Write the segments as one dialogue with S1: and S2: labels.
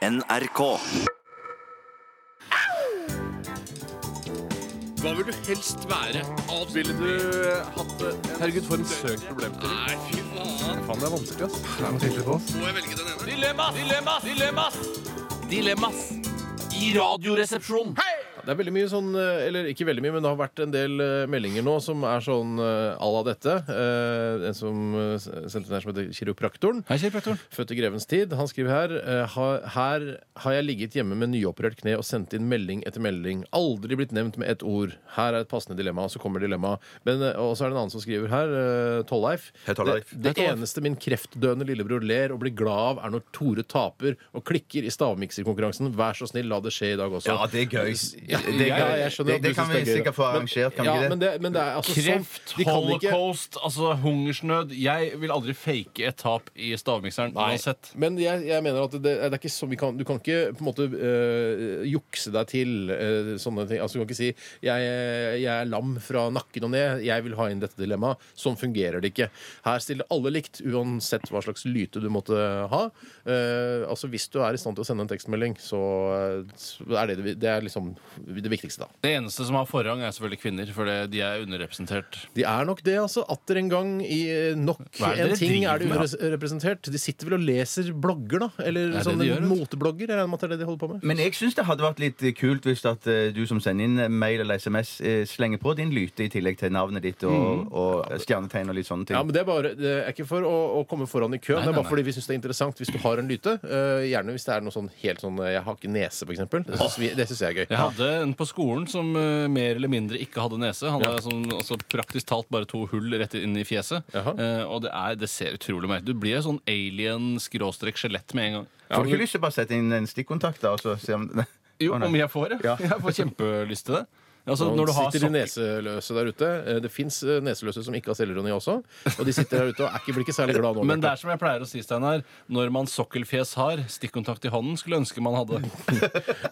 S1: NRK.
S2: Hva vil du helst være?
S3: Ville du hatt det? Herregud, for en søkt problemstilling.
S2: Nei, fy faen.
S3: Faen, det er vanskelig, ass.
S2: Må jeg velge den ene?
S4: Dilemmas! Dilemmas! Dilemmas! Dilemmas i Radioresepsjonen.
S3: Det er veldig mye sånn, eh, eller ikke veldig mye, men det har vært en del eh, meldinger nå som er sånn eh, à la dette. Eh, En som eh, sendte den her som heter Kiropraktoren.
S4: Hei, kiropraktoren.
S3: Født i grevens tid. Han skriver her eh, «Ha- Her har jeg ligget hjemme med nyoperert kne og sendt inn melding etter melding. Aldri blitt nevnt med ett ord. Her er et passende dilemma. Og så kommer dilemmaet. Men, eh, Og så er det en annen som skriver her, eh, Tolleif.
S5: Hei, Tolleif.
S3: Det, det eneste min kreftdøende lillebror ler og blir glad av, er når Tore taper og klikker i stavmikserkonkurransen. Vær så snill, la det skje i dag også.
S5: Ja, det er gøy.
S3: Ja,
S5: Det er gøy.
S3: ja, jeg skjønner at
S5: det,
S3: du
S5: det kan
S3: synes
S5: vi
S3: det er gøy,
S5: sikkert få
S3: da.
S5: arrangert, kan
S3: ja,
S5: vi ikke
S3: men
S5: det?
S3: det, men det er altså
S4: Kreft,
S3: sånn- de kan ikke-
S4: holocaust, altså hungersnød. Jeg vil aldri fake et tap i stavmikseren uansett.
S3: Men jeg, jeg mener at det, det er ikke så, vi kan, du kan ikke på en måte øh, jukse deg til øh, sånne ting. Altså, du kan ikke si jeg, 'jeg er lam fra nakken og ned, jeg vil ha inn dette dilemmaet'. Sånn fungerer det ikke. Her stiller alle likt, uansett hva slags lyte du måtte ha. Eh, altså, Hvis du er i stand til å sende en tekstmelding, så eh, så er det det, det, er liksom det viktigste, da.
S4: Det eneste som har forrang, er selvfølgelig kvinner, for det- de er underrepresentert.
S3: De er nok det, altså. Atter en gang i eh, nok
S4: Hva er det
S3: en
S4: dere
S3: ting
S4: driver
S3: er de
S4: med, da?
S3: underrepresentert. De sitter vel og leser blogger, da? Eller
S4: det
S3: sånne
S4: de gjør, vet du. Mm.
S3: moteblogger? Jeg regner med at det er det de holder på med.
S5: Men jeg syns det hadde vært litt kult hvis at eh, du som sender inn eh, mail eller SMS, eh, slenger på din lyte i tillegg til navnet ditt og, og stjernetegn og litt sånne ting.
S3: Ja, men Det er bare, det er ikke for å, å komme foran i køen. det
S4: Nei,
S3: er
S4: nei,
S3: bare fordi vi syns det er interessant hvis du har en lyte. eh, gjerne hvis det er noe sånn helt sånn eh, Jeg har ikke nese, for eksempel. Det syns vi- det syns jeg er gøy.
S4: Jeg hadde en på skolen som eh, mer eller mindre ikke hadde nese. Han hadde sånn, altså, praktisk talt bare to hull rett inn i fjeset.
S3: Jaha.
S4: Eh, og det, er, det ser utrolig merkelig Du blir en sånn alien-skjelett med en gang.
S5: Får du ikke lyst til å bare sette inn en stikkontakt, da, og så se om
S4: Jo,
S5: Å, nei.
S4: om jeg får det. Jeg får kjempelyst til det. Altså,
S3: Nå
S4: når du har
S3: sitter de
S4: sokker-
S3: neseløse der ute. Eh, Det fins neseløse som ikke har selvironi også. Og de sitter der ute og er ikke, blir ikke særlig glad nå.
S4: Men det
S3: Bjarte.
S4: er som jeg pleier å si, Steinar. Når man sokkelfjes har, stikkontakt i hånden skulle ønske man hadde.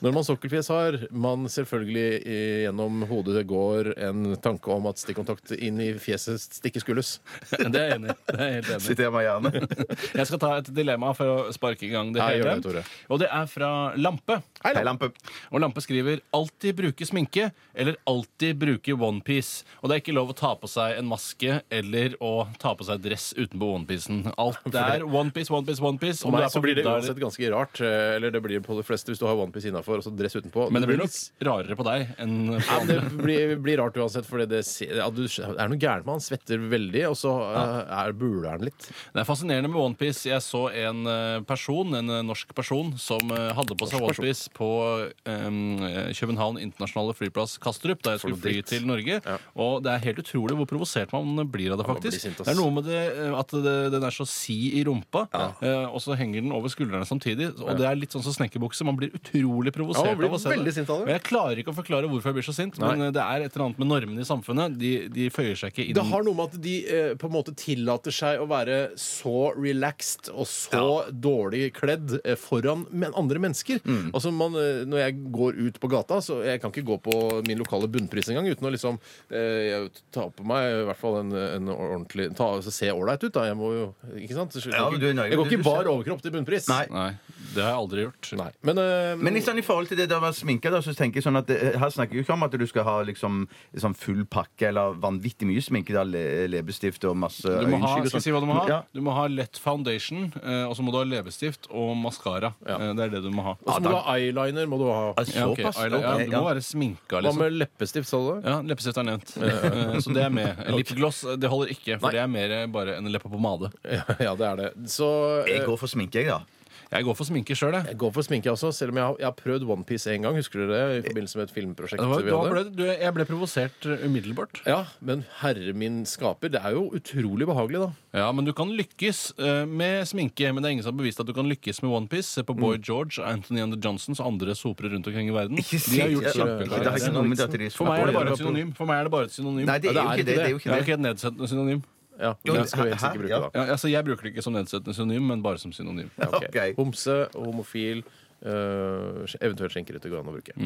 S3: Når man sokkelfjes har, man selvfølgelig eh, gjennom hodet det går en tanke om at stikkontakt inn i fjeset stikke skulles.
S4: Det er jeg enig i. Det er jeg helt enig i.
S5: sitter jeg med gjerne.
S4: Jeg skal ta et dilemma for å sparke i gang det
S3: Nei,
S4: hele.
S3: gjør det, Tore.
S4: Og det er fra Lampe.
S5: Hei, lampe.
S4: Og Lampe skriver 'alltid bruke sminke' eller 'alltid bruke onepiece'. Og det er ikke lov å ta på seg en maske eller å ta på seg dress utenpå onepiecen. Alt det er onepiece, onepiece, onepiece.
S3: For
S4: Om du
S3: meg
S4: er
S3: så
S4: på
S3: blir det
S4: vidda eller-
S3: uansett ganske rart. eh, Eller det blir på de fleste hvis du har onepiece innafor og så dress utenpå.
S4: Men det blir
S3: litt-
S4: nok rarere på deg enn på
S3: Ja, men
S4: andre.
S3: det blir, blir rart uansett, for det, ser- ja, du, det er noe gærent med han. Svetter veldig, og så eh, er buler han litt.
S4: Det er fascinerende med OnePiece. Jeg så en eh, person, en eh, norsk person, som eh, hadde på seg
S3: Norsk person.
S4: OnePiece på eh, København internasjonale flyplass Kastrup, da jeg skulle fly
S3: dritt.
S4: til Norge. Og det er helt utrolig hvor provosert man blir av det,
S3: Ja, man blir
S4: faktisk.
S3: sint, ass.
S4: det er noe med det, eh, at det, den er så si i rumpa, eh, og så henger den over skuldrene samtidig. Og det er litt sånn som snekkerbukse. Man blir utrolig provosert
S3: Ja, man blir
S4: av å se
S3: veldig sint av det.
S4: Og jeg klarer ikke å forklare hvorfor jeg blir så sint,
S3: Nei.
S4: men eh, det er et eller annet med normene i samfunnet. De, de føyer seg ikke inn
S3: Det har noe med at de eh, på en måte tillater seg å være så relaxed og så dårlig kledd eh, foran men andre mennesker.
S5: Mm.
S3: Altså man, eh, Når jeg går ut på gata, så jeg kan ikke gå på min lokale bunnpris engang uten å liksom eh, jeg ta på meg i hvert fall en, en ordentlig ta, altså, Se ålreit ut, da. Jeg må jo Ikke sant? Jeg,
S5: Ja, men du er nøye.
S3: jeg går
S5: Du-
S3: ikke
S5: du
S3: bar
S5: ser-
S3: overkropp til bunnpris.
S5: Nei.
S4: Nei, det har jeg aldri gjort.
S3: Nei. Men, eh,
S5: Men i, sånn, i forhold til det der å være sminka, da, så tenker jeg sånn at eh, her snakker vi ikke om at du skal ha liksom, sånn full pakke eller vanvittig mye sminke. Da, le, leppestift og masse
S4: Du må ha, skal
S5: øyenskygge og sånn.
S4: jeg si hva du må ha?
S5: Ja.
S4: Du må ha lett foundation, eh, og så må du ha leppestift og maskara. Eh, Det er det du må ha.
S3: Og så må altså, du ha eyeliner. må du ha
S5: Ah,
S4: Ja, ok,
S5: Såpass?
S4: eyeliner.
S5: Ok,
S4: ja, du
S5: ja.
S4: må være sminka,
S3: Hva
S4: liksom.
S3: med leppestift, sa du? det?
S4: Ja, Leppestift er nevnt. Eh, Så det er med. Lipgloss eh, det holder ikke, for det er mer eh, bare en leppepomade.
S3: Ja, ja, det er det. Så eh,
S5: Jeg går for sminke, jeg, da.
S4: Jeg går for sminke sjøl, jeg.
S3: jeg går for sminke også, selv om jeg har, jeg har prøvd OnePiece en gang. Husker dere det? I forbindelse med et filmprosjekt.
S4: Det var,
S3: vi
S4: da
S3: hadde.
S4: ble, du, jeg ble provosert eh, umiddelbart.
S3: Ja, Men herre min skaper, det er jo utrolig behagelig, da.
S4: Ja, Men du kan lykkes eh, med sminke. Men det er ingen som har bevist at du kan lykkes med OnePiece. Se på Boy George, Anthony and the Johnsons og andre sopere rundt omkring i verden.
S5: Mm. Ikke
S4: De har
S5: si-
S4: gjort
S5: Ja,
S4: kjempeklare.
S5: Det har ikke noe med at de er
S4: For meg er det bare et
S5: sminke.
S4: synonym. For meg er det bare et synonym.
S5: Nei, det er jo ikke det. det, er jo
S4: Det
S5: ikke
S4: er
S5: det.
S4: ikke et nedsettende synonim.
S3: Ja,
S5: Jo,
S3: det skal vi helst
S5: hæ?
S3: ikke bruke,
S5: Ja.
S3: da.
S4: Ja, altså, jeg bruker det ikke som nedsettende synonym, men bare som synonym.
S3: Ok.
S5: Ok.
S3: Homse, homofil, eh, eventuelt skjenkerøtter går an å bruke.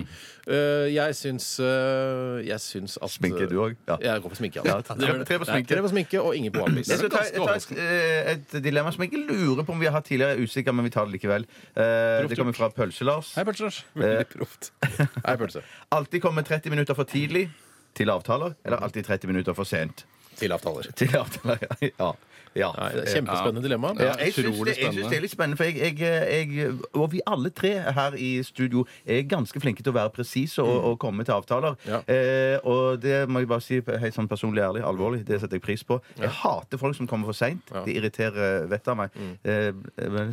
S3: Eh, jeg syns eh, Jeg syns at
S5: Sminke, du òg? Ja.
S3: Jeg går for sminke,
S5: Ja, tre- tre på sminke.
S3: Tre på sminke og ingen på
S5: Jeg
S3: OnePiece.
S5: skal ta, jeg tar et, eh, et dilemma som jeg ikke lurer på om vi har hatt tidligere. Jeg er usikker, men vi tar det likevel. Eh, Det kommer fra Pølse-Lars.
S3: Hei, pølse. Lars.
S5: Eh,
S3: Veldig proft. Hei, pølse.
S5: Alltid komme 30 minutter for tidlig til avtaler, eller alltid 30 minutter for sent
S3: Til avtaler.
S5: til avtaler. Ja. ja. ja.
S3: Nei, det er kjempespennende dilemma.
S5: Ja, jeg syns
S4: utrolig
S5: det, jeg syns det er litt spennende, for jeg, jeg, jeg Og vi alle tre her i studio er ganske flinke til å være presise og, og komme til avtaler.
S3: Mm. Ja.
S5: Eh, og det må jeg bare si helt sånn personlig ærlig, alvorlig, det setter jeg pris på. Jeg hater folk som kommer for seint. Det irriterer vettet av
S3: Mm.
S5: meg. Eh, men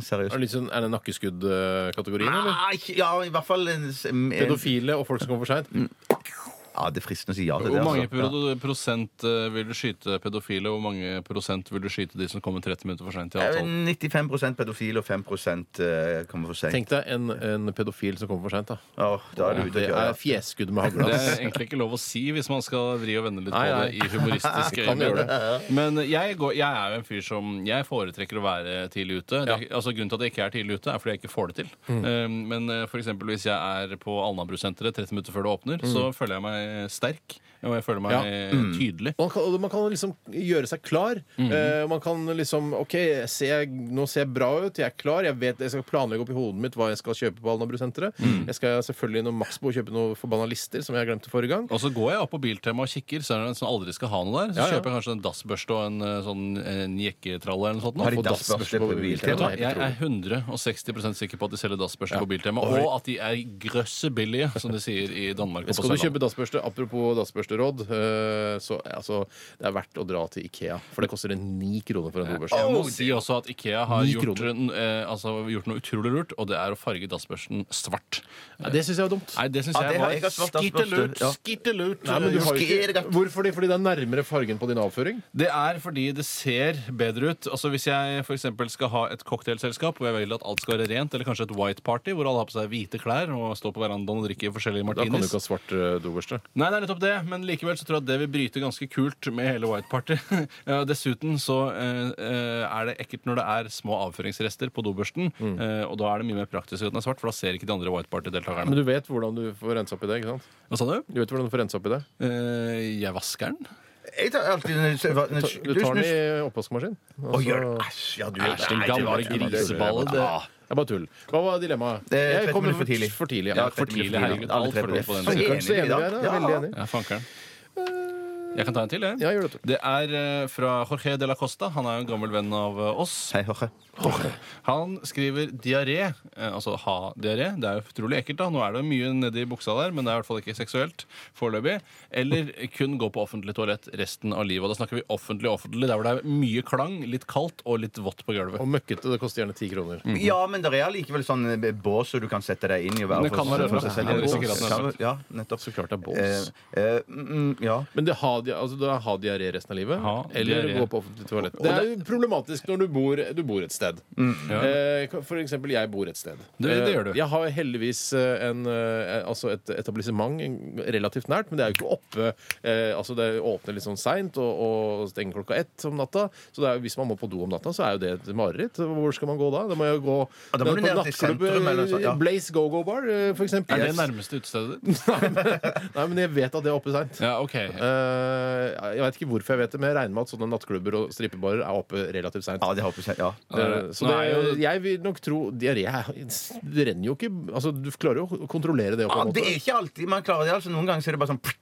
S3: Er det
S5: seriøst.
S3: litt sånn, er det nakkeskudd-kategorien, eller?
S5: Nei, ikke- ja, i hvert fall en, en,
S3: Pedofile og folk som kommer for seint?
S5: Mm. Ja, det er fristende å si ja til
S4: Hvor
S5: det.
S4: mange
S5: altså.
S4: pro- prosent eh, vil du skyte pedofile, og hvor mange prosent vil du skyte de som kommer 30 minutter for sent til
S5: Ja.
S4: avtalen?
S5: 95 Eh, pedofile og 5 eh, kommer for seint.
S3: Tenk deg en, en pedofil som kommer for seint.
S5: Åh, da er det ute
S3: Det
S5: å kjøre.
S3: er fjeskudd med
S4: Det
S3: hagla.
S4: er egentlig ikke lov å si hvis man skal vri og vende litt
S3: Nei,
S4: på
S3: nei.
S4: det i humoristiske
S3: Kan gjøre
S4: øyemed. Men jeg, går, jeg er jo en fyr som Jeg foretrekker å være tidlig ute. Det, er ikke- altså, grunnen til at jeg ikke er tidlig ute, er fordi jeg ikke får det til.
S3: Mm.
S4: Um, men eh, for eksempel hvis jeg er på Alnabru-senteret 30 minutter før det åpner, så føler jeg meg sterk, og jeg føler meg
S3: Mm. Ja. Mm.
S4: eh, tydelig.
S3: Man kan, man kan liksom gjøre seg klar.
S5: Mhm.
S3: Eh, man kan liksom OK, jeg ser, nå ser jeg bra ut, jeg er klar. Jeg vet, jeg skal planlegge opp i hodet mitt hva jeg skal kjøpe på Alnabru-senteret.
S5: Mhm.
S3: Jeg skal selvfølgelig innom Maxbo og kjøpe noen forbanna lister, som jeg glemte forrige gang.
S4: Og så går jeg opp på Biltema og kikker, så er det en som aldri skal ha noe der. Så
S3: Ja, ja.
S4: kjøper jeg kanskje en dassbørste og en eh, sånn en jekketralle eller noe sånt. nå.
S5: Har de
S4: Få dass-
S3: dassbørste
S5: dassbørste på
S3: på
S5: Biltema?
S3: Biltema?
S4: Jeg er 160 sikker på at de selger dassbørster på Biltema, og at de er grøssebillige, som de sier i Danmark og på
S3: Skal du kjøpe
S4: Sørlandet.
S3: dassbørste, apropos dassbørsteråd, eh, så altså, det er verdt å dra til Ikea. For det koster en ni kroner for en dobørste.
S4: Jeg må si også at Ikea har
S3: Ni
S4: gjort,
S3: kroner.
S4: en, eh, altså, gjort noe utrolig lurt, og det er å farge dassbørsten svart.
S3: Ja, det syns jeg er dumt.
S4: Nei, det syns
S5: Ja, det
S4: jeg
S5: har jeg
S4: var
S5: hatt svart dassbørste,
S4: skittelurt.
S5: ja.
S4: Skittelurt.
S3: Nei, men du har jo
S5: Skjer
S3: ikke,
S5: det.
S3: hvorfor det? Fordi det er nærmere fargen på din avføring?
S4: Det er fordi det ser bedre ut. Altså Hvis jeg for eksempel skal ha et cocktailselskap hvor jeg vil at alt skal være rent, eller kanskje et white party hvor alle har på seg hvite klær og står på verandaen og drikker forskjellige
S3: Da kan du
S4: martinis
S3: ikke ha svart eh, dobørste.
S4: Nei, det er nettopp det, men likevel så tror jeg at det vil bryte ganske kult med hele white party. Ja, Dessuten så eh, eh, er det ekkelt når det er små avføringsrester på dobørsten, eh, og da er det mye mer praktisk at den er svart, for da ser ikke de andre white
S3: Men
S4: party-deltakerne.
S3: du vet hvordan du får rensa opp i det? ikke sant?
S4: Hva sa du?
S3: Du vet hvordan du får rensa opp i det?
S4: Eh, jeg vasker den.
S5: Jeg tar alltid en, en,
S3: Ta- Du tar den i oppvaskmaskin.
S5: Å,
S3: og så-
S5: gjør Æsj, ja, du gjør
S4: Æsj, den gamle griseballen.
S5: det.
S4: det-
S3: Det er bare tull. Hva var dilemmaet?
S5: Det er 30
S3: kom
S5: minutter for tidlig.
S3: For tidlig,
S5: Ja,
S3: ja.
S5: 30
S4: tidlig,
S5: minutter
S4: herregud.
S5: for tidlig.
S4: Alt for dårlig på den
S5: Alle tre
S3: Fankeren,
S5: på
S3: så
S5: den.
S3: enige vi er. da. Veldig
S5: Ja.
S3: enige.
S4: Ja, fankeren. Jeg kan ta en til, jeg.
S3: Ja, gjør det, Tor.
S4: Det er eh, fra Jorge de la Costa. Han er jo en gammel venn av eh, oss.
S5: Hei, Jorge.
S4: Han skriver diaré. eh, Altså ha-diaré. Det er jo utrolig ekkelt. da Nå er det mye nedi buksa der, men det er i hvert fall ikke seksuelt foreløpig. Eller kun gå på offentlig toalett resten av livet. Og da snakker vi offentlig offentlig, der hvor det er mye klang, litt kaldt og litt vått på gulvet.
S3: Og møkkete. Det koster gjerne ti kroner.
S5: Ja, men det er likevel sånn eh, bås som du kan sette deg inn i. og være
S4: Det kan
S5: for-
S4: være
S5: for
S4: rødt.
S5: seg selv.
S4: Ja, det er sikkert at den er
S5: Kan-
S4: rødt.
S5: Ja, nettopp.
S3: Så klart det er bås.
S5: Eh, eh, mm, mm, ja.
S3: Men det har, dia- altså, da ha diaré resten av livet.
S4: Ha
S3: eller
S4: diaré.
S3: gå på offentlig toalett. Det er jo problematisk når du bor, du bor et sted.
S4: Ja.
S3: Eh, For eksempel, jeg bor et sted.
S4: Mm. Det- det gjør du.
S3: Eh, Jeg har heldigvis eh, en, eh, altså et etablissement en- relativt nært, men det er jo ikke oppe eh, Altså, det åpner litt sånn seint og, og stenger klokka ett om natta. Så det er, jo- hvis man må på do om natta, så er jo det et mareritt. Hvor skal man gå da? Da må jeg jo gå
S5: Ja, da må
S3: på
S5: du ned til
S3: nattklubb,
S5: sentrum eller noe sånt, ja.
S3: Blaze Go-Go Bar, eh, for eksempel.
S4: Er det nærmeste utestedet ditt?
S3: Nei, men, nei, men jeg vet at det er oppe seint.
S4: Ja, ok.
S3: Eh, jeg vet ikke hvorfor jeg vet det, men jeg regner med at sånne nattklubber og strippebarer er oppe relativt seint.
S5: ja, det håper jeg. Ja.
S3: Eh, Så
S4: Nå er
S3: det,
S4: jo-
S3: jeg vil nok tro Diaré er- det renner jo ikke altså, Du klarer jo å kontrollere det.
S5: Ja,
S3: På en
S5: det er
S3: måte.
S5: ikke alltid man klarer det. altså Noen ganger så er det bare sånn pff,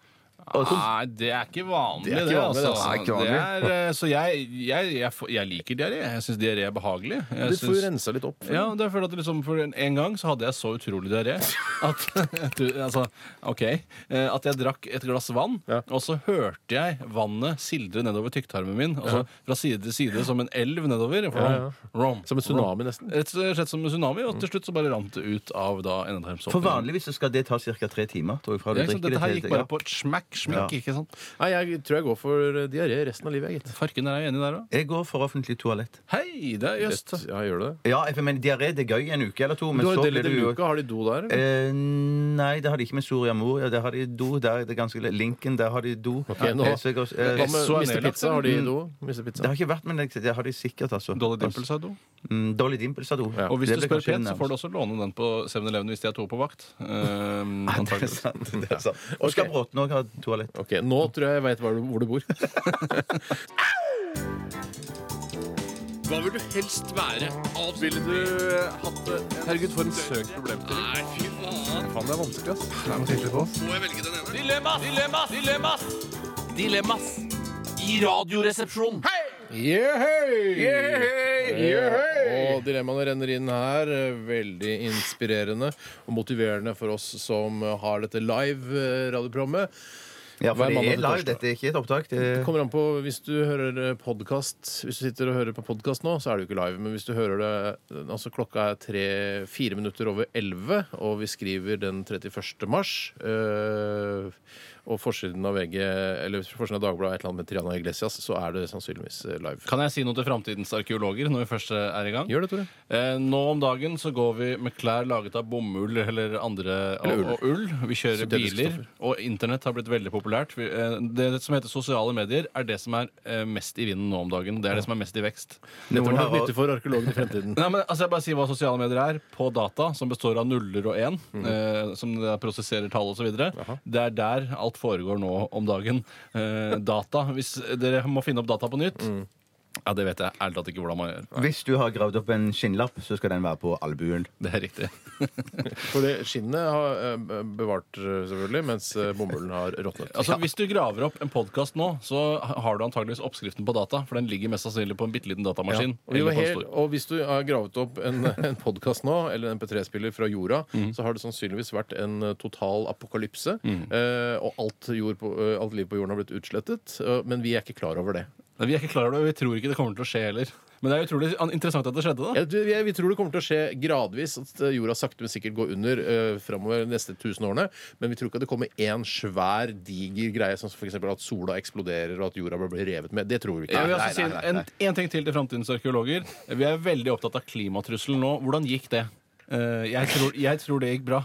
S5: og så-
S4: Nei, Ah, det er ikke vanlig,
S3: Det er
S4: det.
S3: ikke vanlig,
S4: altså.
S3: det, altså.
S5: Nei, ikke vanlig.
S4: Det er, eh, så jeg, jeg, jeg, får- jeg liker diaré. Jeg syns diaré er behagelig. Jeg
S3: Du får jo
S4: synes-
S3: rensa litt opp.
S4: ja, det er fordi at liksom for en, en gang så hadde jeg så utrolig diaré at, jeg tror- altså, ok, eh, at jeg drakk et glass vann,
S3: Ja.
S4: og så hørte jeg vannet sildre nedover tykktarmen min. Altså fra side til side som en elv nedover. For,
S3: Ja, ja.
S4: rom,
S3: Som en tsunami, nesten.
S4: Rett og slett som en tsunami, og til slutt så bare rant det ut av da
S5: For
S4: endetarmsåpningen.
S5: vanligvis så skal det ta ca. tre timer. Tror jeg, fra du
S4: Det er ikke sant,
S5: drikker det
S4: Dette her
S5: til-
S4: gikk bare
S5: ja.
S4: på et smack, Sminke, ikke sant?
S3: Nei, jeg tror jeg går for diaré resten av livet, jeg, gitt.
S4: Farken, er jeg enig der òg?
S5: Jeg går for offentlig toalett.
S4: Hei, det er jøss.
S3: Rett- Ja, gjør du det?
S5: Ja, jeg- men diaré det er gøy en uke eller to. Men
S3: Du har
S5: så
S3: jo
S5: blir
S3: Deli de
S5: det jo
S3: Luca. Har de do der? eller?
S5: Eh, nei, det har de ikke med Soria Moria. Der har de do. Der er det ganske le- Lincoln, der har de do.
S3: Ok, nå-
S5: Eh, så jeg går- eh,
S3: Hva med
S4: så er
S3: Mr.
S4: nedlagt,
S3: Pizza? Har de do? Mr. Pizza?
S5: det har ikke vært, men det, det har de sikkert, altså.
S4: Dolly Dimple, sa du.
S5: Mm, Dolly Dimple, sa du.
S4: Og hvis
S5: Det
S4: du
S5: ble
S4: spør
S5: kanskje
S4: pent, så
S5: nærmest.
S4: får du også låne den på 7-Eleven hvis de er to på vakt. Um,
S5: Det er sant. Det er sant. Oskar Bråten òg har toalett.
S3: Ok, Nå tror jeg jeg veit hvor, du- hvor du bor.
S2: Hva vil du helst være? Absolutt.
S1: Ville du eh, hatt det? Herregud, for en søk problemstilling.
S2: Nei, fy faen.
S1: Faen, det er vanskelig, ass. Det er noe tydelig på oss.
S2: Må jeg velge den ene?
S6: Dilemmas! Dilemmas! Dilemmas! Dilemmas i Radioresepsjonen.
S3: Eh, Og dilemmaene renner inn her. eh, Veldig inspirerende og motiverende for oss som eh, har dette live eh, radioprogrammet.
S5: Ja, for
S3: Hver
S5: det
S3: mandag
S5: er
S3: til
S5: live.
S3: torsdag.
S5: Dette er ikke et opptak. Det
S3: Det kommer an på hvis du hører podkast. Hvis du sitter og hører på podkast nå, så er det jo ikke live. Men hvis du hører det altså Klokka er tre-fire minutter over elleve, og vi skriver den 31. mars. øh, og forsiden av VG, eller forsiden av Dagbladet er et eller annet med Triana Iglesias, så er det sannsynligvis eh, live.
S4: Kan jeg si noe til framtidens arkeologer når vi først er i gang?
S3: Gjør det, Tore.
S4: Eh, nå om dagen så går vi med klær laget av bomull eller andre
S3: Eller
S4: og, og ull. Vi kjører
S3: Syntetiske
S4: biler,
S3: stoffer.
S4: og internett har blitt veldig populært. Vi, eh, det som heter sosiale medier, er det som er eh, mest i vinden nå om dagen. Det er det som er mest i vekst.
S3: Dette må
S5: har-
S3: du bytte for arkeologen i fremtiden.
S4: Nei, men altså Jeg bare sier hva sosiale medier er. På data, som består av nuller og én,
S3: Mhm.
S4: eh, som det er prosesserer tall osv. Det er der alt foregår nå om dagen. Eh, data. Hvis dere må finne opp data på nytt
S3: Mm.
S4: Ja, det vet jeg ærlig talt ikke hvordan man gjør.
S5: Hvis du har gravd opp en skinnlapp, så skal den være på albuen.
S4: Det er riktig.
S3: For det skinnet har eh, bevart, eh, selvfølgelig, mens eh, bomullen har råtnet.
S4: Altså, Hvis du graver opp en podkast nå, så har du antageligvis oppskriften på data. For den ligger mest sannsynlig på en bitte liten datamaskin.
S3: Og, vi
S4: eller
S3: var
S4: på en
S3: helt,
S4: stor.
S3: og hvis du har gravet opp en, en podkast nå, eller en MP3-spiller fra jorda, så har det sannsynligvis vært en eh, total apokalypse. eh, og alt, jord på, eh, alt liv på jorden har blitt utslettet. eh, men vi er ikke klar over det.
S4: Nei, Vi er ikke klar over det, og vi tror ikke det kommer til å skje heller. Men det er utrolig an- interessant at det skjedde, da.
S3: Jeg, tror- jeg, vi tror det kommer til å skje gradvis, at eh, jorda sakte, men sikkert går under uh, framover de neste tusen årene. Men vi tror ikke at det kommer én svær, diger greie, sånn som f.eks. at sola eksploderer og at jorda blir revet med. Det tror vi ikke.
S4: Jeg vil
S5: nei,
S4: altså si
S5: nei,
S4: en,
S5: nei,
S4: en, en ting til til framtidens arkeologer. Vi er veldig opptatt av klimatrusselen nå. Hvordan gikk det? Eh, jeg, tror, jeg tror det gikk bra.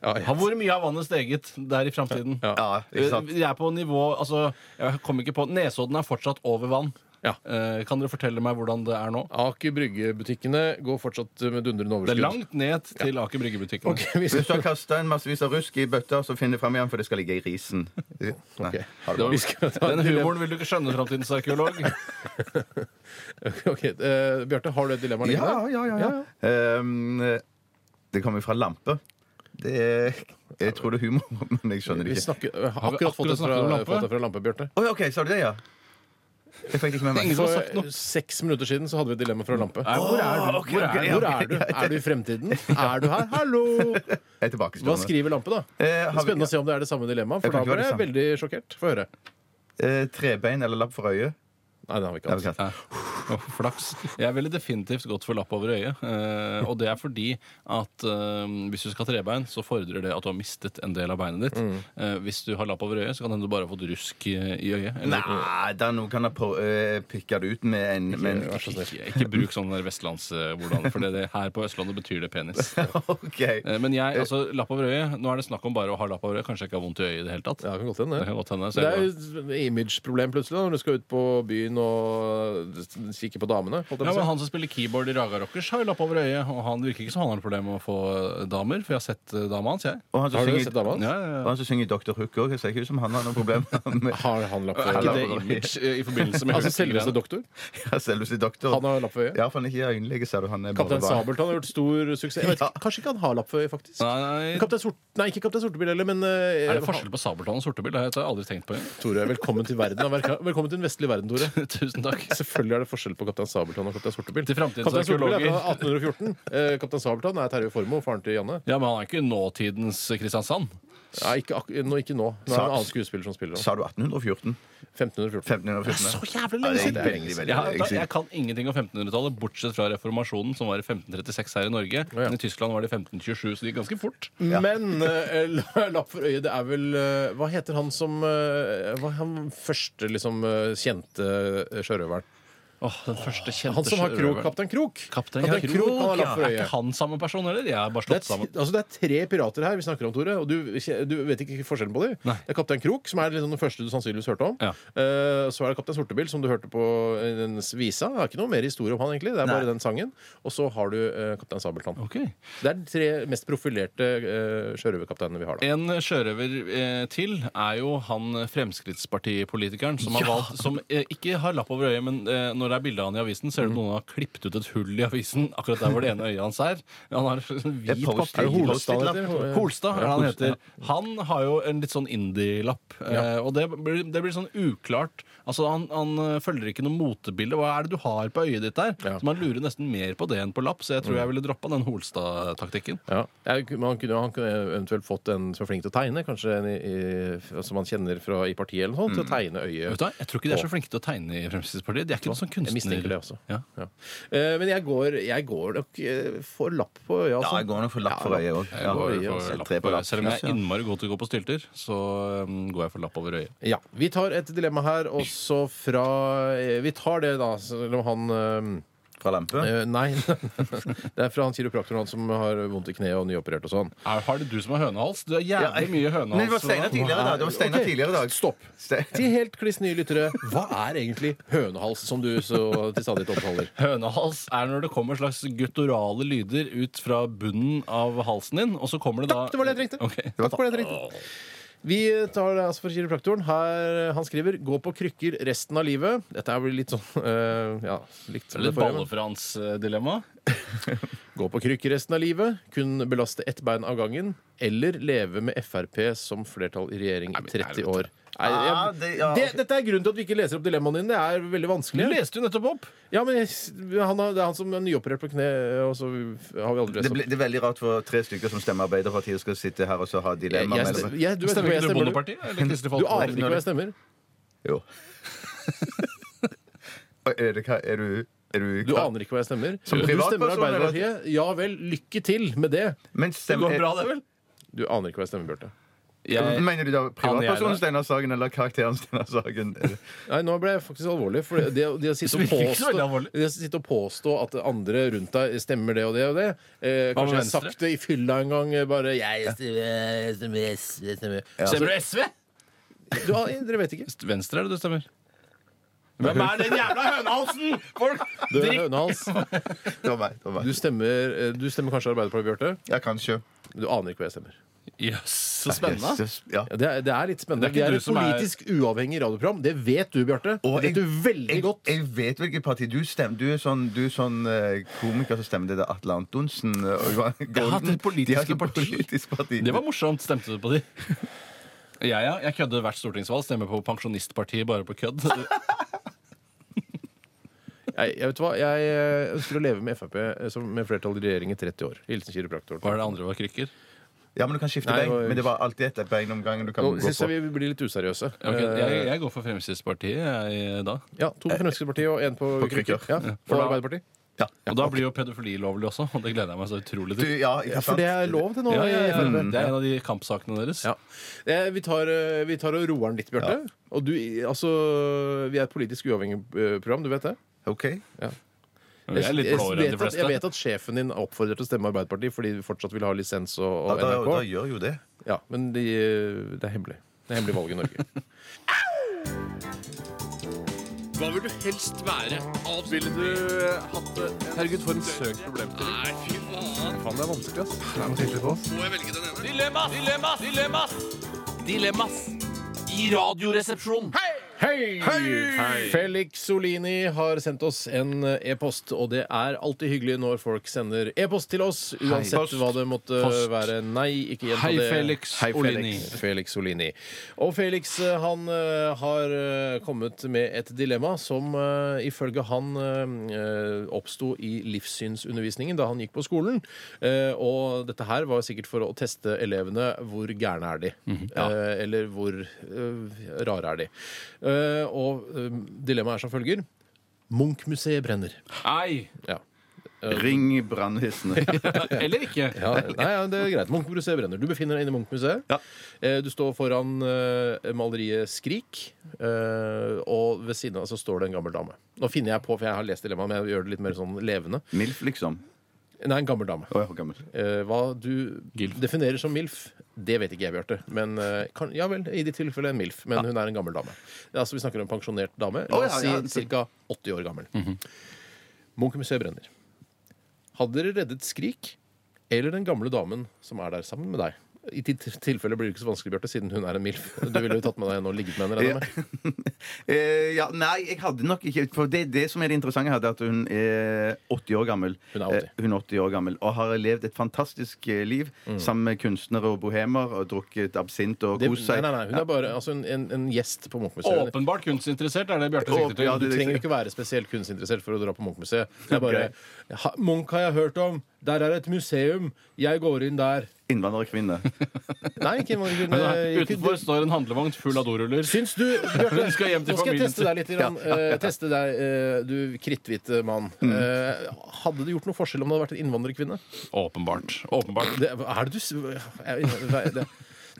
S3: Ja, ja.
S4: Har Hvor mye har vannet steget der i framtiden? Eh,
S5: Ja, ikke sant?
S4: Vi er på nivå altså, jeg kom ikke på, Nesodden er fortsatt over vann.
S3: Ja.
S4: Eh, kan dere fortelle meg hvordan det er nå?
S3: Aker Brygge-butikkene går fortsatt med dundrende
S4: Det er
S3: overskudd.
S4: langt ned til Aker Brygge-butikken.
S3: Ok, vi skal
S5: Hvis du har kasta en massevis av rusk i bøtta, så finn det fram igjen, for det skal ligge i risen. Nei.
S3: Ok.
S5: Har du-
S4: Det var-
S3: Vi skal ta
S4: Den
S3: et dilemma.
S4: humoren vil du ikke skjønne, framtidens arkeolog.
S3: Ok, eh, Bjarte, har du et dilemma liggende?
S5: Ja, ja, ja. ja. Um, det kommer fra lampe. Det er Jeg tror det er humor, men jeg skjønner det
S3: Vi
S5: ikke.
S3: snakker, jeg har
S4: Har vi
S3: akkurat fått det
S4: akkurat
S3: fra,
S4: snakket om lampe?
S3: fått det fra lampe, Bjarte.
S5: Oi, OK, sa du det, ja? Jeg fikk det ikke med meg.
S4: Ingen som har sagt noe.
S3: For seks minutter siden så hadde vi et dilemma fra lampe.
S4: Nei, hvor er du?
S5: ok,
S4: Hvor
S5: ok,
S4: er
S5: ja.
S4: du?
S3: Hvor er du? Er du i fremtiden? Er du her? Hallo!
S5: Jeg er
S3: Hva
S5: tilbakestående.
S3: skriver lampe, da? Det
S5: Eh,
S3: er
S5: har vi
S3: Spennende å se om det er det samme dilemmaet,
S5: Jeg
S3: for
S5: kan
S3: da
S5: ikke
S3: ble
S5: være
S3: jeg veldig sjokkert. Få høre.
S5: eh, trebein eller lapp for øyet?
S3: Nei, det har vi ikke
S5: Det har vi
S3: hatt.
S5: ikke hatt.
S4: Åh, flaks. Jeg ville definitivt gått for lapp over øyet. eh, og det er fordi at eh, hvis du skal ha trebein, så fordrer det at du har mistet en del av beinet ditt.
S3: Mm.
S4: Eh, hvis du har lapp over øyet, så kan det hende du bare har fått rusk i i øyet. Eller,
S5: Nei, da noen kan ha på- eh, pikka det ut med en med en-
S4: Ikke, ikke bruk sånn der vestlands eh, hvordan, for det, det, her på Østlandet betyr det penis.
S5: OK.
S4: Eh, Men jeg, altså, lapp over øyet Nå er det snakk om bare å ha lapp over øyet. Kanskje jeg ikke har vondt i øyet i det hele tatt.
S3: Ja, det kan godt hende.
S4: Det kan godt hende. så
S3: Det er
S4: jeg går-
S3: jo sånn et image-problem plutselig da, når du skal ut på byen og kikke på damene. holdt jeg
S4: Ja,
S3: på å
S4: men
S3: si.
S4: Han som spiller keyboard i Raga Rockers, har jo lapp over øyet. Og han virker ikke som han har noe problem med å få eh, damer, for jeg har sett eh, dama hans, jeg.
S5: Og han som
S3: Har du
S5: synger-
S3: sett dama hans?
S4: Ja, ja, ja.
S5: og han som synger Dr. Hook òg. Ser ikke ut som han har noe problem med
S3: Har han lapp
S4: Er
S3: for
S4: ikke det
S3: øyet?
S4: image eh, i forbindelse med
S3: Altså
S4: Hulk-greiene?
S3: selveste doktor?
S5: Ja, selveste doktor.
S3: Han har lapp for øyet?
S5: Ja, for han er ikke øyenlege, ser du. Han er
S3: Kaptein
S5: bare
S3: Sabeltann har gjort stor suksess. Jeg vet ikke, Kanskje ikke han har lapp for øyet, faktisk.
S4: Nei, nei,
S3: Men Kaptein Sort, nei, ikke Kaptein Sortebil heller, men eh,
S4: Er det forskjell på Sabeltann og Sortebil? Det har jeg aldri tenkt på.
S3: Tore, velkommen til verden. Velkommen til den vestlige verden, Tore.
S4: Tusen takk.
S3: Selvfølgelig er det forskjell på Kaptein Sabeltann og Kaptein Sortebille.
S4: Til fremtidens
S3: Kaptein Sortebille er
S4: arkeologer.
S3: fra 1814. Eh, Kaptein Sabeltann er Terje Formoe, faren til Janne.
S4: Ja, men han er ikke nåtidens Kristiansand.
S3: Nei, ikke, ak nå, ikke nå. Nå er det en annen skuespiller som spiller ham.
S5: Sa du 1814?
S3: 1514.
S5: 1514?
S4: Så jævlig
S5: Ja,
S4: lenge
S5: det er
S4: siden!
S5: veldig, veldig
S4: Jeg, har-
S5: lenge siden.
S4: jeg kan ingenting om 1500-tallet, bortsett fra reformasjonen, som var i 1536 her i Norge. Men i Tyskland var det i 1527, så det gikk ganske fort.
S3: Men eh, la- lapp for øyet, det er vel eh, Hva heter han som eh, Hva er han første liksom eh, kjente eh, sjørøveren?
S4: Åh, den første kjente
S3: Han som har krok,
S4: sjørøveren.
S3: Kaptein Krok.
S4: Kaptein
S3: Kaptein
S4: Krok,
S3: Krok, han har lapp
S4: ja.
S3: for
S4: Er ikke
S3: øyet.
S4: han samme person, eller? De er
S3: Det er,
S4: bare slått
S3: t-
S4: sammen.
S3: altså det er tre pirater her vi snakker om, Tore. Og du, kje- du vet ikke forskjellen på dem.
S4: Nei.
S3: Det er Kaptein Krok, som er liksom den første du sannsynligvis hørte om.
S4: Ja.
S3: Eh, så er det Kaptein Sortebil, som du hørte på i den s- visa. Det er ikke noe mer historie om han, egentlig. Det er bare den sangen. Og så har du eh, Kaptein Sabeltann.
S4: Ok.
S3: Det er de tre mest profilerte eh, sjørøverkapteinene vi har. da
S4: En sjørøver eh, til er jo han Fremskrittspartipolitikeren som har valgt Som eh, ikke har lapp over øyet, men eh, når det er bilde av han i avisen, ser du noen har klippet ut et hull i avisen akkurat der hvor det ene øyet hans er. Han har sånn hvit
S5: Post-it-
S4: papir.
S3: Holstad
S5: Post-it-lapp.
S3: heter det?
S4: Holstad er det han heter. Han har jo en litt sånn indie-lapp. Eh, og det blir, det blir sånn uklart. Altså, han, han eh, følger ikke noe motebilde. Hva er det du har på øyet ditt der?
S3: Ja.
S4: Så man lurer nesten mer på det enn på lapp, så jeg tror jeg ville droppa den Holstad-taktikken.
S3: Ja. Jeg, men han, kunne, han kunne eventuelt fått en som er flink til å tegne, kanskje en i, i, som han kjenner fra i partiet eller noe sånt, til å tegne øyet.
S4: Mm. Vet du, hva? jeg tror ikke de er så flinke til å tegne i Fremskrittspartiet. De er ikke noe sånn kunstner...
S3: Jeg mistenker det også.
S4: Ja.
S3: Ja. Eh, men jeg går, jeg går nok eh, for lapp på øya.
S5: Ja,
S3: altså.
S5: jeg går nok for lapp for øyet òg.
S4: Jeg går for
S5: Ja,
S4: lapp
S5: tre på
S4: over-
S5: lapp.
S4: Selv om jeg er
S5: Ja.
S4: innmari god til å gå på stylter, så um, går jeg for lapp over øyet.
S3: Ja, Vi tar et dilemma her også fra eh, Vi tar det, da, selv om han
S5: Fra lampe?
S3: eh, eh, Nei. det er fra han kiropraktoren han som har vondt i kneet og nyoperert og sånn.
S4: Er, har det du som har hønehals? Du har
S5: Ja,
S4: jævlig mye
S5: Nei, det
S4: hønehals.
S5: var Steinar tidligere i dag. Det var Steinar
S3: Ok,
S5: tidligere i dag.
S3: Stopp.
S5: Ste-
S3: Til helt kliss nye lyttere, hva er egentlig hønehals, som du så til stadighet omtaler?
S4: Hønehals er når det kommer slags gutturale lyder ut fra bunnen av halsen din, og så kommer det da
S3: Takk, det var det jeg trengte.
S4: Ok.
S3: Takk for det jeg trengte. Vi tar det altså for kiropraktoren. Her, han skriver 'gå på krykker resten av livet'. Dette er vel litt sånn eh, Ja, likt som det
S4: Litt
S3: forrige. men-
S4: ballefrans-dilemma.
S3: Gå på krykker resten av livet, kun belaste ett bein av gangen, eller leve med Frp som flertall i regjering i 30 år. Nei,
S5: Ah,
S3: jeg,
S5: det- ja,
S3: det,
S5: ok.
S3: dette er grunnen til at vi ikke leser opp dilemmaene dine. Det er veldig vanskelig.
S4: Leste du nettopp opp?
S3: Ja, men jeg- han, har- Det er han som er nyoperert på kne, og så har vi aldri lest
S5: Det,
S3: opp.
S5: ble, det er veldig rart for tre stykker som stemmer Arbeiderpartiet, skal sitte her og så ha
S3: Jeg-
S5: dilemma
S3: jeg- jeg- du
S5: mellom
S3: vet ikke hva
S4: Stemmer
S3: jeg
S4: ikke du
S3: stemmer. du.
S4: Bondepartiet eller Kristelig
S3: Du aner
S4: Folkeparti?
S3: ikke hva jeg stemmer.
S5: Jo. Og Er, det, hva- er du, er du,
S3: Du aner ikke hva jeg stemmer.
S5: Som
S3: du
S5: privatperson,
S3: stemmer Arbeiderpartiet. Ja vel, lykke til med det.
S5: Men stemmer,
S4: Det går bra, det, vel?
S3: Du aner ikke hva jeg stemmer, Bjarte.
S4: Jeg-
S5: Eh, Mener du da
S4: Anne
S5: privatpersonen
S4: Gjerde.
S5: Steinar Sagen eller karakteren Steinar Sagen?
S3: Nei, nå ble jeg faktisk alvorlig. For det, det, å sitte og
S4: Det virker ikke så
S3: påstå,
S4: veldig alvorlig.
S3: det å sitte og påstå at andre rundt deg stemmer det og det og det eh, Kanskje jeg
S4: Hva med
S3: har
S4: Venstre?
S3: sagt det i fylla en gang. eh, Bare jeg stemmer, jeg stemmer, jeg stemmer.
S4: Stemmer du SV?
S3: Du, aner- dere vet ikke.
S4: Venstre er det du stemmer. Hvem er den jævla hønehalsen?! Folk
S3: Du,
S4: drikk-
S3: Hønehals,
S5: Det var meg. det var meg.
S3: du, stemmer, eh, du stemmer kanskje Arbeiderpartiet, Bjarte.
S5: Ja, kanskje.
S3: Du aner ikke hva jeg stemmer.
S4: Jøss, så spennende.
S5: Jesus, Ja.
S3: Ja, det, er, det er litt spennende.
S4: Det
S3: Det er,
S4: er ikke du
S3: et
S4: som er-
S3: politisk uavhengig radioprogram. Det vet du, Bjarte. Det
S5: Og
S3: vet
S5: jeg-
S3: du veldig
S5: Jeg,
S3: godt.
S5: jeg vet hvilket parti du stemmer. Du er sånn, du er sånn eh, komiker som stemmer det der Atle Antonsen og Johan
S4: Ja,
S5: Golden.
S4: det politiske
S5: De har ikke
S4: parti.
S5: politisk parti.
S4: Det var morsomt. Stemte du på de? Ja, ja. Jeg kødder hvert stortingsvalg. Stemmer på Pensjonistpartiet bare på kødd.
S3: Jeg, jeg vet hva, jeg eh, ønsker å leve med Frp eh, som- med flertall i regjering i 30 år. Hilsen kiropraktoren.
S4: Hva er det andre var krykker?
S5: Ja, men du kan skifte
S3: Nei, det
S5: bein.
S3: var-
S5: Men det var alltid ett bein om gangen. Du kan
S3: Nå
S5: gå
S3: syns
S5: på.
S3: jeg vi blir litt useriøse.
S4: Ok, jeg,
S3: Eh,
S4: jeg går for Fremskrittspartiet jeg, da.
S3: Ja, To på Fremskrittspartiet og én på,
S5: På krykker.
S3: krykker. Ja, for
S5: da-
S3: Arbeiderpartiet.
S5: Ja.
S4: Og da blir jo pedofili lovlig også, og det gleder jeg meg så utrolig
S5: Du,
S4: til.
S5: ja, ikke
S3: Ja, for
S5: sant?
S3: det er lov til nå
S4: Ja, ja,
S3: i
S4: ja.
S3: Frp.
S4: Det er en av de kampsakene
S3: Mm,
S4: deres.
S3: Ja. Eh, Vi tar, eh, vi tar og roer den litt, Bjarte. Og du, altså Vi er et politisk uavhengig eh, program, du vet det?
S5: OK.
S4: Jeg er litt blåere enn
S3: vet
S4: de
S3: at, jeg vet
S4: fleste.
S3: at sjefen din er oppfordret til å stemme Arbeiderpartiet fordi vi fortsatt vil ha lisens og,
S5: Ja,
S3: og
S5: da, da
S3: NRK.
S5: gjør jo det.
S3: Ja, Men de, eh, det er hemmelig. Det er hemmelig valg i Norge.
S2: Hva vil du helst være? Avspill
S1: Ville du eh, hatt det? Herregud, for en søk problemstilling.
S2: Nei, fy faen.
S1: Faen, det er vanskelig, ass.
S2: Må jeg velge den ene?
S6: Dilemmas! Dilemmas! Dilemmas! Dilemmas! I radioresepsjonen.
S3: Hei! Felix Solini har sendt oss en eh, e-post, og det er alltid hyggelig når folk sender e-post til oss, uansett
S5: Post.
S3: hva det måtte
S4: Post.
S3: være. Nei, ikke gjenta
S4: Hei,
S3: det.
S4: Felix
S3: Hei,
S4: Olini.
S3: Felix, Felix Olini. Og Felix eh, han eh, har eh, kommet med et dilemma som eh, ifølge han eh, oppsto i livssynsundervisningen da han gikk på skolen. Eh, Og dette her var sikkert for å teste elevene hvor gærne er de,
S4: Mhm,
S3: Eh, eller hvor eh, rare er de. Eh, Og eh, dilemmaet er som følger. Munch-museet brenner.
S4: Ei!
S3: Ja.
S5: Ring brannvesenet.
S4: Eller ikke.
S3: Ja, nei, ja, det er greit. Munch-museet brenner. Du befinner deg inne i Munch-museet. Eh, Du står foran eh, maleriet 'Skrik', eh, og ved siden av så står det en gammel dame. Nå finner jeg på, for jeg har lest dilemmaet, men jeg gjør det litt mer sånn levende.
S5: Milf, liksom.
S3: Nei, en gammel dame.
S5: Å, jeg er gammel.
S3: Eh, Hva du
S4: Gilf.
S3: definerer som MILF, det vet ikke jeg, Bjarte. Men eh, kan, ja vel, i ditt tilfelle en MILF, men hun er en gammel dame. Ja, altså, vi snakker om en pensjonert dame. La
S5: Å,
S3: oss
S5: ja, ja.
S3: si ca. 80 år gammel. Munch-museet brenner. Hadde dere reddet Skrik eller den gamle damen som er der sammen med deg? I ditt tilfelle blir det ikke så vanskelig, Bjarte, siden hun er en MILF. Du ville jo tatt med deg en og ligget med henne. regner jeg med.
S5: Eh, ja, nei, jeg hadde nok ikke For det, det som er det interessante her, det er at hun er 80 år gammel.
S3: Hun er 80.
S5: Eh, hun er 80 år gammel Og har levd et fantastisk eh, liv sammen med kunstnere og bohemer. Og drukket absint og
S3: Mm. Det,
S5: kost
S3: nei,
S5: seg.
S3: nei, nei, hun er bare altså, en, en, en gjest på Munch-museet.
S4: Åpenbart kunstinteressert er det Bjarte sikter
S5: Å, ja,
S4: til.
S3: Du
S5: det-
S3: trenger ikke være spesielt kunstinteressert for å dra på Munch-museet. Det er bare ha, Munch har jeg hørt om. Der er et museum. Jeg går inn der.
S5: Innvandrerkvinne.
S3: Nei, Eh, ikke en vanlig
S4: Men da,
S3: kunne-
S4: utenfor står en handlevogn full av doruller.
S3: Syns du, Bjarte
S4: Hun skal hjem til
S3: Nå skal jeg
S4: familien
S3: teste deg litt. Grann. Eh, teste deg, eh, du kritthvite mann. Eh, hadde det gjort noe forskjell om det hadde vært en innvandrerkvinne?
S4: Åpenbart. Åpenbart.
S3: Det, er det du s- jeg- det,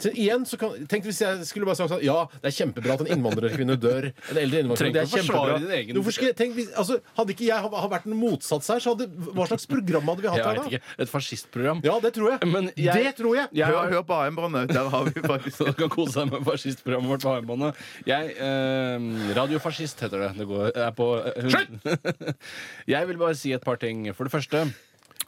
S3: så igjen så kan, Tenk hvis jeg skulle bare sagt sånn Ja, det er kjempebra at en innvandrerkvinne dør. En eldre innvandrerkvinne. Det er
S4: Trenger ikke å forsvare
S3: kjempebra.
S4: din egen-
S3: Hvorfor skulle jeg- tenk hvis, altså, hadde ikke jeg ha- ha vært en motsats her, så hadde Hva slags program hadde vi hatt
S4: Jeg
S3: her
S4: vet
S3: da?
S4: ikke. Et fascistprogram.
S3: Ja, det tror jeg.
S4: Men jeg-
S3: Det tror jeg.
S4: Jeg
S5: Hør,
S4: har
S5: hør på AM-båndet. Der har vi faktisk
S4: Du kan kose deg med fascistprogrammet vårt på armbåndet. Jeg, eh, Radiofascist heter det. det går, er på, Slutt! jeg vil bare si et par ting. For det første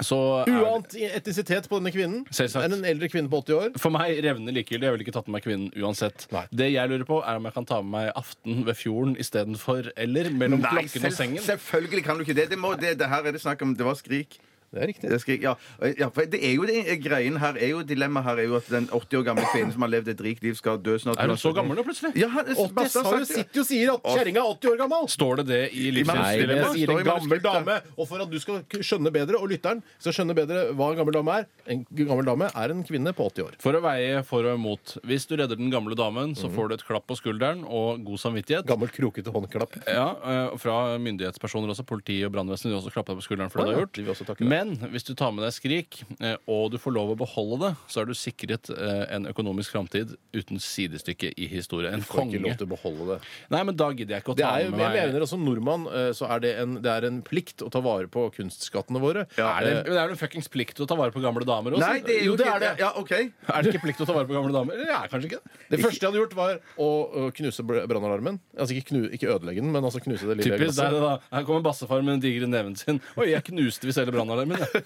S4: så er
S3: Uant etnisitet på denne kvinnen.
S4: Selvsagt.
S3: Er det en eldre kvinne på 80 år.
S4: for meg revner likegyldig. Jeg ville ikke tatt med meg kvinnen uansett.
S3: Nei.
S4: Det jeg lurer på, er om jeg kan ta med meg aften ved fjorden istedenfor eller mellom klokken og
S5: selv-
S4: sengen.
S5: selvfølgelig kan du ikke det. Det, må, det, det her er det snakk om. Det var skrik.
S3: Det er riktig.
S5: Det er skrik, ja. ja for det er jo det, eh, greien her er jo Dilemmaet her er jo at den 80 år gamle kvinnen som har levd et rikt liv, skal dø snart.
S4: Er hun så gammel nå, plutselig?
S5: Ja, han-
S3: Det
S5: Basta
S3: sa
S5: har
S3: jo,
S5: sagt det.
S3: sitter jo og sier at kjerringa er 80 år gammel!
S4: Står det det i
S5: Nei,
S3: Nei, det
S5: Dilemma
S4: livsstilsdilemmaet?
S3: sier
S5: står i
S3: en gammel
S5: manuskriptet.
S3: dame. Og for at du skal k- skjønne bedre, og lytteren skal skjønne bedre hva en gammel dame er En gammel dame er en kvinne på 80 år.
S4: For å veie for og imot. Hvis du redder den gamle damen, så får du et klapp på skulderen og god samvittighet.
S3: Gammel krokete håndklapp.
S4: Ja, eh, og fra myndighetspersoner også. Politi og brannvesen vil også klappe deg på skulderen for det
S3: Å
S4: du
S3: ja,
S4: har
S3: de vil også
S4: gjort.
S3: takke deg.
S4: Men hvis du tar med deg Skrik, eh, og du får lov å beholde det, så er du sikret eh, en økonomisk framtid uten sidestykke i historie. En
S3: Får ikke
S4: konge.
S3: lov til å beholde det.
S4: Nei, men da gidder jeg ikke å
S3: Det
S4: ta
S3: er jo,
S4: med
S3: jeg
S4: meg
S3: mener at Som nordmann eh, så er det, en, det er en plikt å ta vare på kunstskattene våre.
S4: er det,
S3: Eh,
S4: men det er jo en fuckings plikt å ta vare på gamle damer også.
S5: Nei, det er jo,
S4: jo, det
S5: ikke-
S4: er det.
S5: Ja, OK.
S4: Er det ikke plikt å ta vare på gamle damer? Eller det er kanskje ikke det.
S3: det første jeg hadde gjort, var å, å knuse br- brannalarmen. Altså ikke, knu, ikke ødelegge den, men altså knuse det lille
S4: Typisk, det er
S3: glasset.
S4: det da. Her kommer bassefar med den digre neven sin. Oi, jeg knuste visst hele brannalarmen. jeg.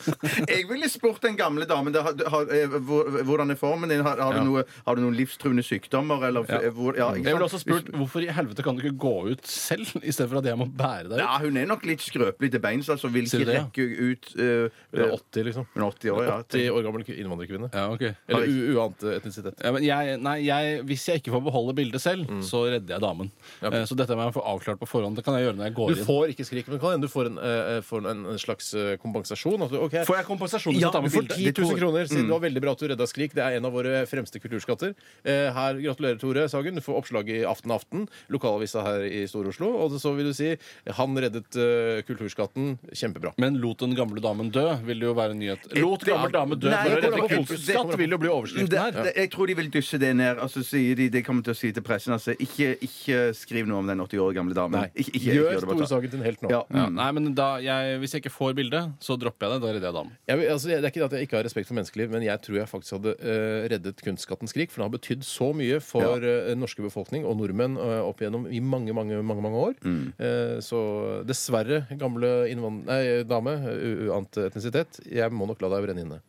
S5: Jeg ville spurt den gamle damen der, har, har, eh, hvor- hvordan er formen din. Har, har,
S4: Ja.
S5: du noe, har du noen livstruende sykdommer? Eller,
S4: Ja.
S5: eh, hvor, ja, ikke
S4: Jeg ville
S5: sant?
S4: også spurt hvorfor i helvete kan du ikke gå ut selv, istedenfor at jeg må bære deg ut?
S5: Ja, hun er nok litt skrøpelig til beins, altså. Vil
S4: Sier
S5: ikke
S4: du det,
S5: rekke ut eh,
S3: Det er
S5: eh,
S3: 80, liksom.
S5: hun er 80 år, ja.
S3: 80 år gammel innvandrerkvinne.
S4: Ja, ok. Eller,
S3: Eller u uant etnisitet.
S4: ja, men jeg, nei, jeg, hvis jeg ikke får beholde bildet selv, så redder jeg damen.
S3: ok.
S4: Eh, Så dette må jeg få avklart på forhånd. Det kan jeg gjøre når jeg går
S3: Du
S4: inn. Får,
S3: får ikke skrik, men det kan hende du får en, eh, får en, en slags eh, kompensasjon. At du, ok,
S4: jeg kompensasjon hvis
S3: Ja,
S4: jeg tar
S3: du
S4: med
S3: får
S4: bildet?
S3: 10 000 kroner,
S5: Mm.
S3: siden det var veldig bra at du redda Skrik. Det er en av våre fremste kulturskatter. Eh, her, Gratulerer, Tore Sagen. Du får oppslag i Aften Aften, lokalavisa her i Stor-Oslo. Og så vil du si han reddet eh, kulturskatten. Kjempebra.
S4: Men lot den gamle damen dø, vil det jo være en nyhet. Lot gammel dame dø
S5: Nei,
S4: for å
S5: det
S4: redde
S5: kommer an på-
S4: kulturskatt vil jo bli overskriften
S5: Det,
S4: her.
S5: det, jeg tror de vil dysse det ned. Altså, sier de, det kommer til å si til pressen altså, ikke, ikke skriv noe om den 80 år gamle damen. Ikke, ikke, ikke
S3: Gjør
S5: det,
S3: Tore
S5: bare ta.
S3: Sagen til en helt nå.
S5: Ja.
S4: Ja, nei, men da, jeg, Hvis jeg ikke får bildet, så dropper jeg det. Da redder jeg damen.
S3: Jeg, vil- altså, det er ikke det at jeg ikke har respekt for menneskeliv, men jeg tror jeg faktisk hadde eh, reddet kunstskatten Skrik, for den har betydd så mye for eh, den norske befolkning og nordmenn eh, opp igjennom i mange, mange mange, mange år. Eh, så dessverre, gamle innvand... Nei, dame, u- uant etnisitet, jeg må nok la deg brenne inne.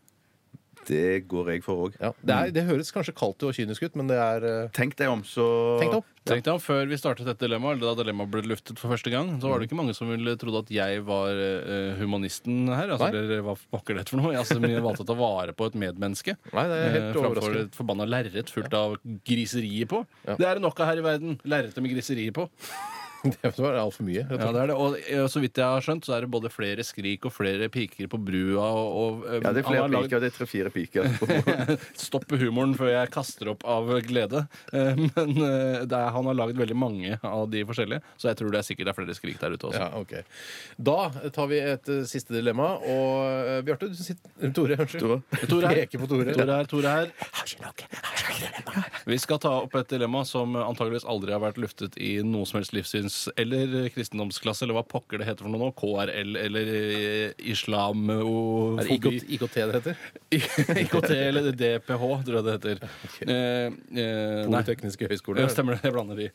S5: Det går jeg for òg.
S3: Ja, det, er, det høres kanskje kaldt og kynisk ut, men det er eh,
S5: Tenk deg om, så
S3: Tenk deg opp.
S4: Tenk deg om før vi startet dette dilemmaet, eller da dilemmaet ble luftet for første gang, så var det ikke mange som ville trodd at jeg var eh, humanisten her. Altså,
S3: Nei.
S4: eller hva pokker det heter for noe. Jeg altså, jeg valgte å ta vare på et medmenneske.
S3: Nei, det er helt
S4: eh, framfor
S3: overraskende.
S4: et forbanna lerret fullt av griserier på. Det er det nok av her i verden. Lerretet med griserier på.
S3: Det var altfor mye. rett og
S4: Ja,
S3: slett.
S4: det er det. Og eh, så vidt jeg har skjønt, så er det både flere skrik og flere piker på brua og, og eh,
S5: Ja, det er
S4: han
S5: flere
S4: har laget-
S5: piker. Det er tre-fire piker.
S4: Stopp humoren før jeg kaster opp av glede. Eh, Men eh, det er, han har laget veldig mange av de forskjellige, så jeg tror det er sikkert det er flere skrik der ute også.
S3: Ja, ok. Da tar vi et eh, siste dilemma. Og eh, Bjarte, du sitter Tore, unnskyld.
S5: Tore.
S4: Tore her.
S3: Peker på Tore.
S4: Tore her, Tore her. Vi skal ta opp et dilemma som antageligvis aldri har vært luftet i noe som helst livssyns- eller kristendomsklasse, eller hva pokker det heter for noe nå. KRL eller eh,
S3: Er det IKT,
S4: islamofobi.
S3: IKT det heter?
S4: IKT eller DPH, tror jeg det heter. Eh, eh, nei.
S3: Tekniske høgskole.
S4: Ja, stemmer det. Jeg blander de.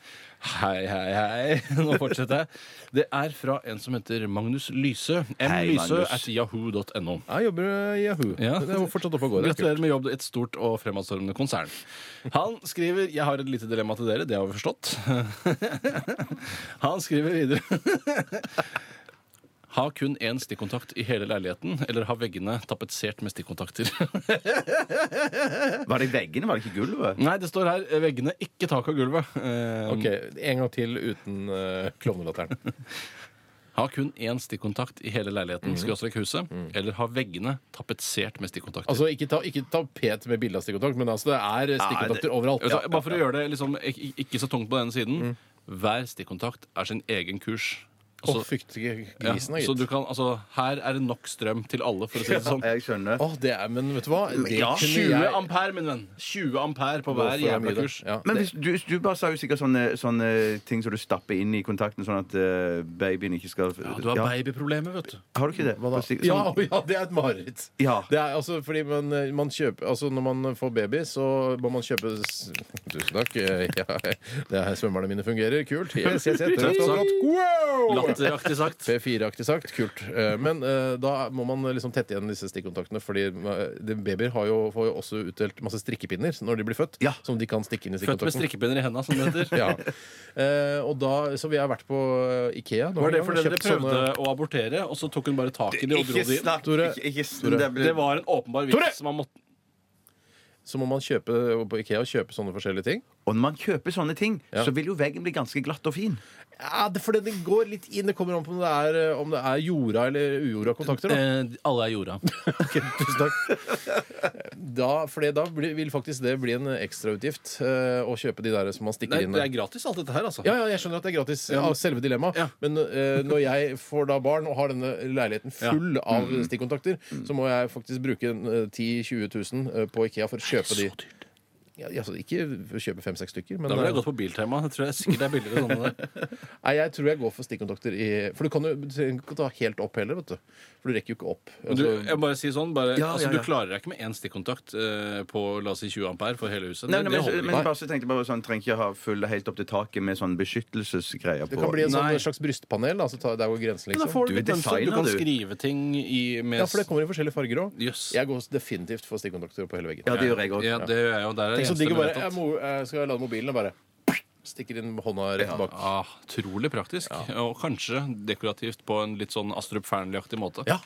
S4: Hei, hei, hei. Nå fortsetter jeg. Det er fra en som heter Magnus Lyse.
S5: Hei,
S4: mlyse
S5: Magnus.
S4: at yahoo.no.
S3: Jeg jobber i Yahoo.
S4: Ja.
S3: Det er fortsatt oppe og går.
S4: Gratulerer med jobb i et stort og fremadstormende konsern. Han skriver Jeg har et lite dilemma til dere, det har vi forstått. Han skriver videre Ha kun én stikkontakt i hele leiligheten, eller ha veggene tapetsert med stikkontakter.
S5: Var det veggene, var det ikke
S3: Mm,
S5: gulvet?
S4: Nei, det står her veggene, ikke tak og gulvet. Eh,
S3: Ok, En gang til uten uh, klovnelatteren.
S4: Ha kun én stikkontakt i hele leiligheten,
S3: Mm.
S4: skråstrek huset, eller ha veggene tapetsert med stikkontakter.
S3: Altså, ikke, ta, ikke tapet med bilde av stikkontakt, men altså, det er stikkontakter overalt.
S4: Vet du hva, bare for å gjøre det liksom, ik- ik- ikke så tungt på denne siden Hver stikkontakt er sin egen kurs.
S3: Mm. Å,
S4: Altså,
S3: fyktige
S4: ja,
S3: grisen,
S4: så
S3: da,
S4: du
S3: gitt.
S4: kan, altså, her er det nok strøm til alle, for å si det sånn.
S5: Jeg skjønner.
S3: Å, det er, men vet du hva? Det
S5: eh, Ja,
S3: kunne
S4: 20
S3: jeg-
S4: ampere, min venn! 20 ampere på
S3: Hvorfor
S4: hver
S3: er
S4: jævla
S3: mye det?
S4: kurs.
S3: Ja.
S5: Men hvis, du, du bare sa jo sikkert sånne, sånne ting som du stapper inn i kontakten, sånn at eh, babyen ikke skal
S4: Ja, du har babyproblemer, vet du.
S5: Har du ikke det? På sik-
S3: Ja,
S5: sånn-
S3: ja, det er et mareritt.
S5: Ja.
S3: Det er, altså, fordi man, man kjøper, altså, når man får baby, så må man kjøpe s- Tusen takk. eh, Ja, det er svømmerne mine fungerer. Kult. Yes, yes, yes, det er
S4: Tøft sagt.
S3: flott. Wow!
S4: Latteraktig sagt.
S3: P4-aktig sagt. Kult. Eh, Men eh, da må man liksom tette igjen disse stikkontaktene. Fordi eh, de- babyer har jo, får jo også utdelt masse strikkepinner når de blir født.
S5: Ja.
S3: Som de kan stikke inn i
S4: Født med
S3: stikkontakten.
S4: strikkepinner i henda, som det heter.
S3: Ja. Eh, og da, så vi har vært på eh, Ikea.
S4: Var det fordi dere
S3: Kjøpt sånne-
S4: prøvde å abortere, og så tok hun bare tak i det og dro
S5: Ikke
S4: det inn?
S5: snakk!
S3: Tore.
S5: Ikke, ikke snakk. Det
S4: Det
S5: ble-
S4: var en åpenbar
S3: Tore!
S4: vits. Man måtte
S3: Så må man kjøpe eh, på Ikea kjøpe sånne forskjellige ting.
S5: Og når man kjøper sånne ting, så vil jo veggen bli ganske glatt og fin.
S3: Ja, det, for det går litt inn. Det kommer an på om det er, eh, om det er jorda eller ujorda kontakter. Da.
S4: Eh, alle er jorda.
S3: Ok, tusen takk. Da, for da blir, vil faktisk det bli en ekstrautgift eh, å kjøpe de der som man stikker
S4: Nei,
S3: inn.
S4: det er gratis, alt dette her, altså.
S3: Ja, ja, jeg skjønner at det er gratis av selve dilemmaet,
S4: Ja.
S3: men eh, når jeg får da barn og har denne leiligheten full
S4: Mm,
S3: av stikkontakter, så må jeg faktisk bruke eh, 10 000-20 000 eh, på Ikea for å kjøpe de. Ja, altså, ikke kjøpe fem-seks stykker, men
S4: Da ville
S3: eh,
S4: jeg gått på Biltema. Jeg tror jeg sikkert det er billigere sånn enn det.
S3: Nei, jeg tror jeg går for stikkontakter i For du kan jo du trenger ikke å ta helt opp heller, vet du. For du rekker jo ikke opp.
S4: Men Du,
S3: Altså,
S4: jeg må bare si sånn, bare,
S5: Ja,
S4: altså,
S5: ja,
S4: du
S5: ja.
S4: klarer deg ikke med én stikkontakt eh, på la oss si 20 ampere for hele huset.
S5: Nei,
S4: det, det
S5: nei, men,
S4: holder
S5: men
S4: ikke.
S5: jeg bare så tenkte jeg bare sånn, trenger ikke ha full helt opp til taket med sånn beskyttelsesgreier
S3: det
S5: på.
S3: kan bli en sånn,
S4: Nei.
S3: slags brystpanel. Altså, ta, der går grensen,
S4: Men da
S3: liksom.
S4: får du,
S5: Du
S4: litt sånn den som- du
S5: designer,
S4: kan
S5: du.
S4: skrive ting i med
S3: Ja, for det kommer i forskjellige farger òg.
S4: Jøss.
S3: Jeg går definitivt for stikkontakter på hele veggen.
S5: Ja, det gjør jeg òg.
S4: Ja, det gjør jeg jo. Der er det
S3: Tenk så
S4: eneste
S3: digg å
S4: med
S3: bare jeg
S4: vedtatt.
S3: må, jeg Skal jeg lade mobilen og bare Stikker inn hånda rett bak.
S4: Ah, Utrolig praktisk. Og kanskje dekorativt på en litt sånn Astrup Fearnley-aktig måte.
S3: Ja,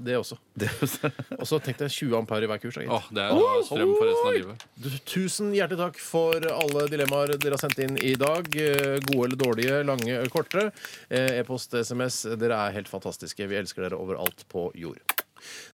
S3: det også. Og så tenkte jeg 20 ampere i hver kurs. da, gitt.
S4: Åh, det er da strøm for resten av livet.
S3: Du- Tusen hjertelig takk for alle dilemmaer dere har sendt inn i dag. Eh, Gode eller dårlige, lange, korte. Eh, E-post, SMS. Dere er helt fantastiske. Vi elsker dere overalt på jord.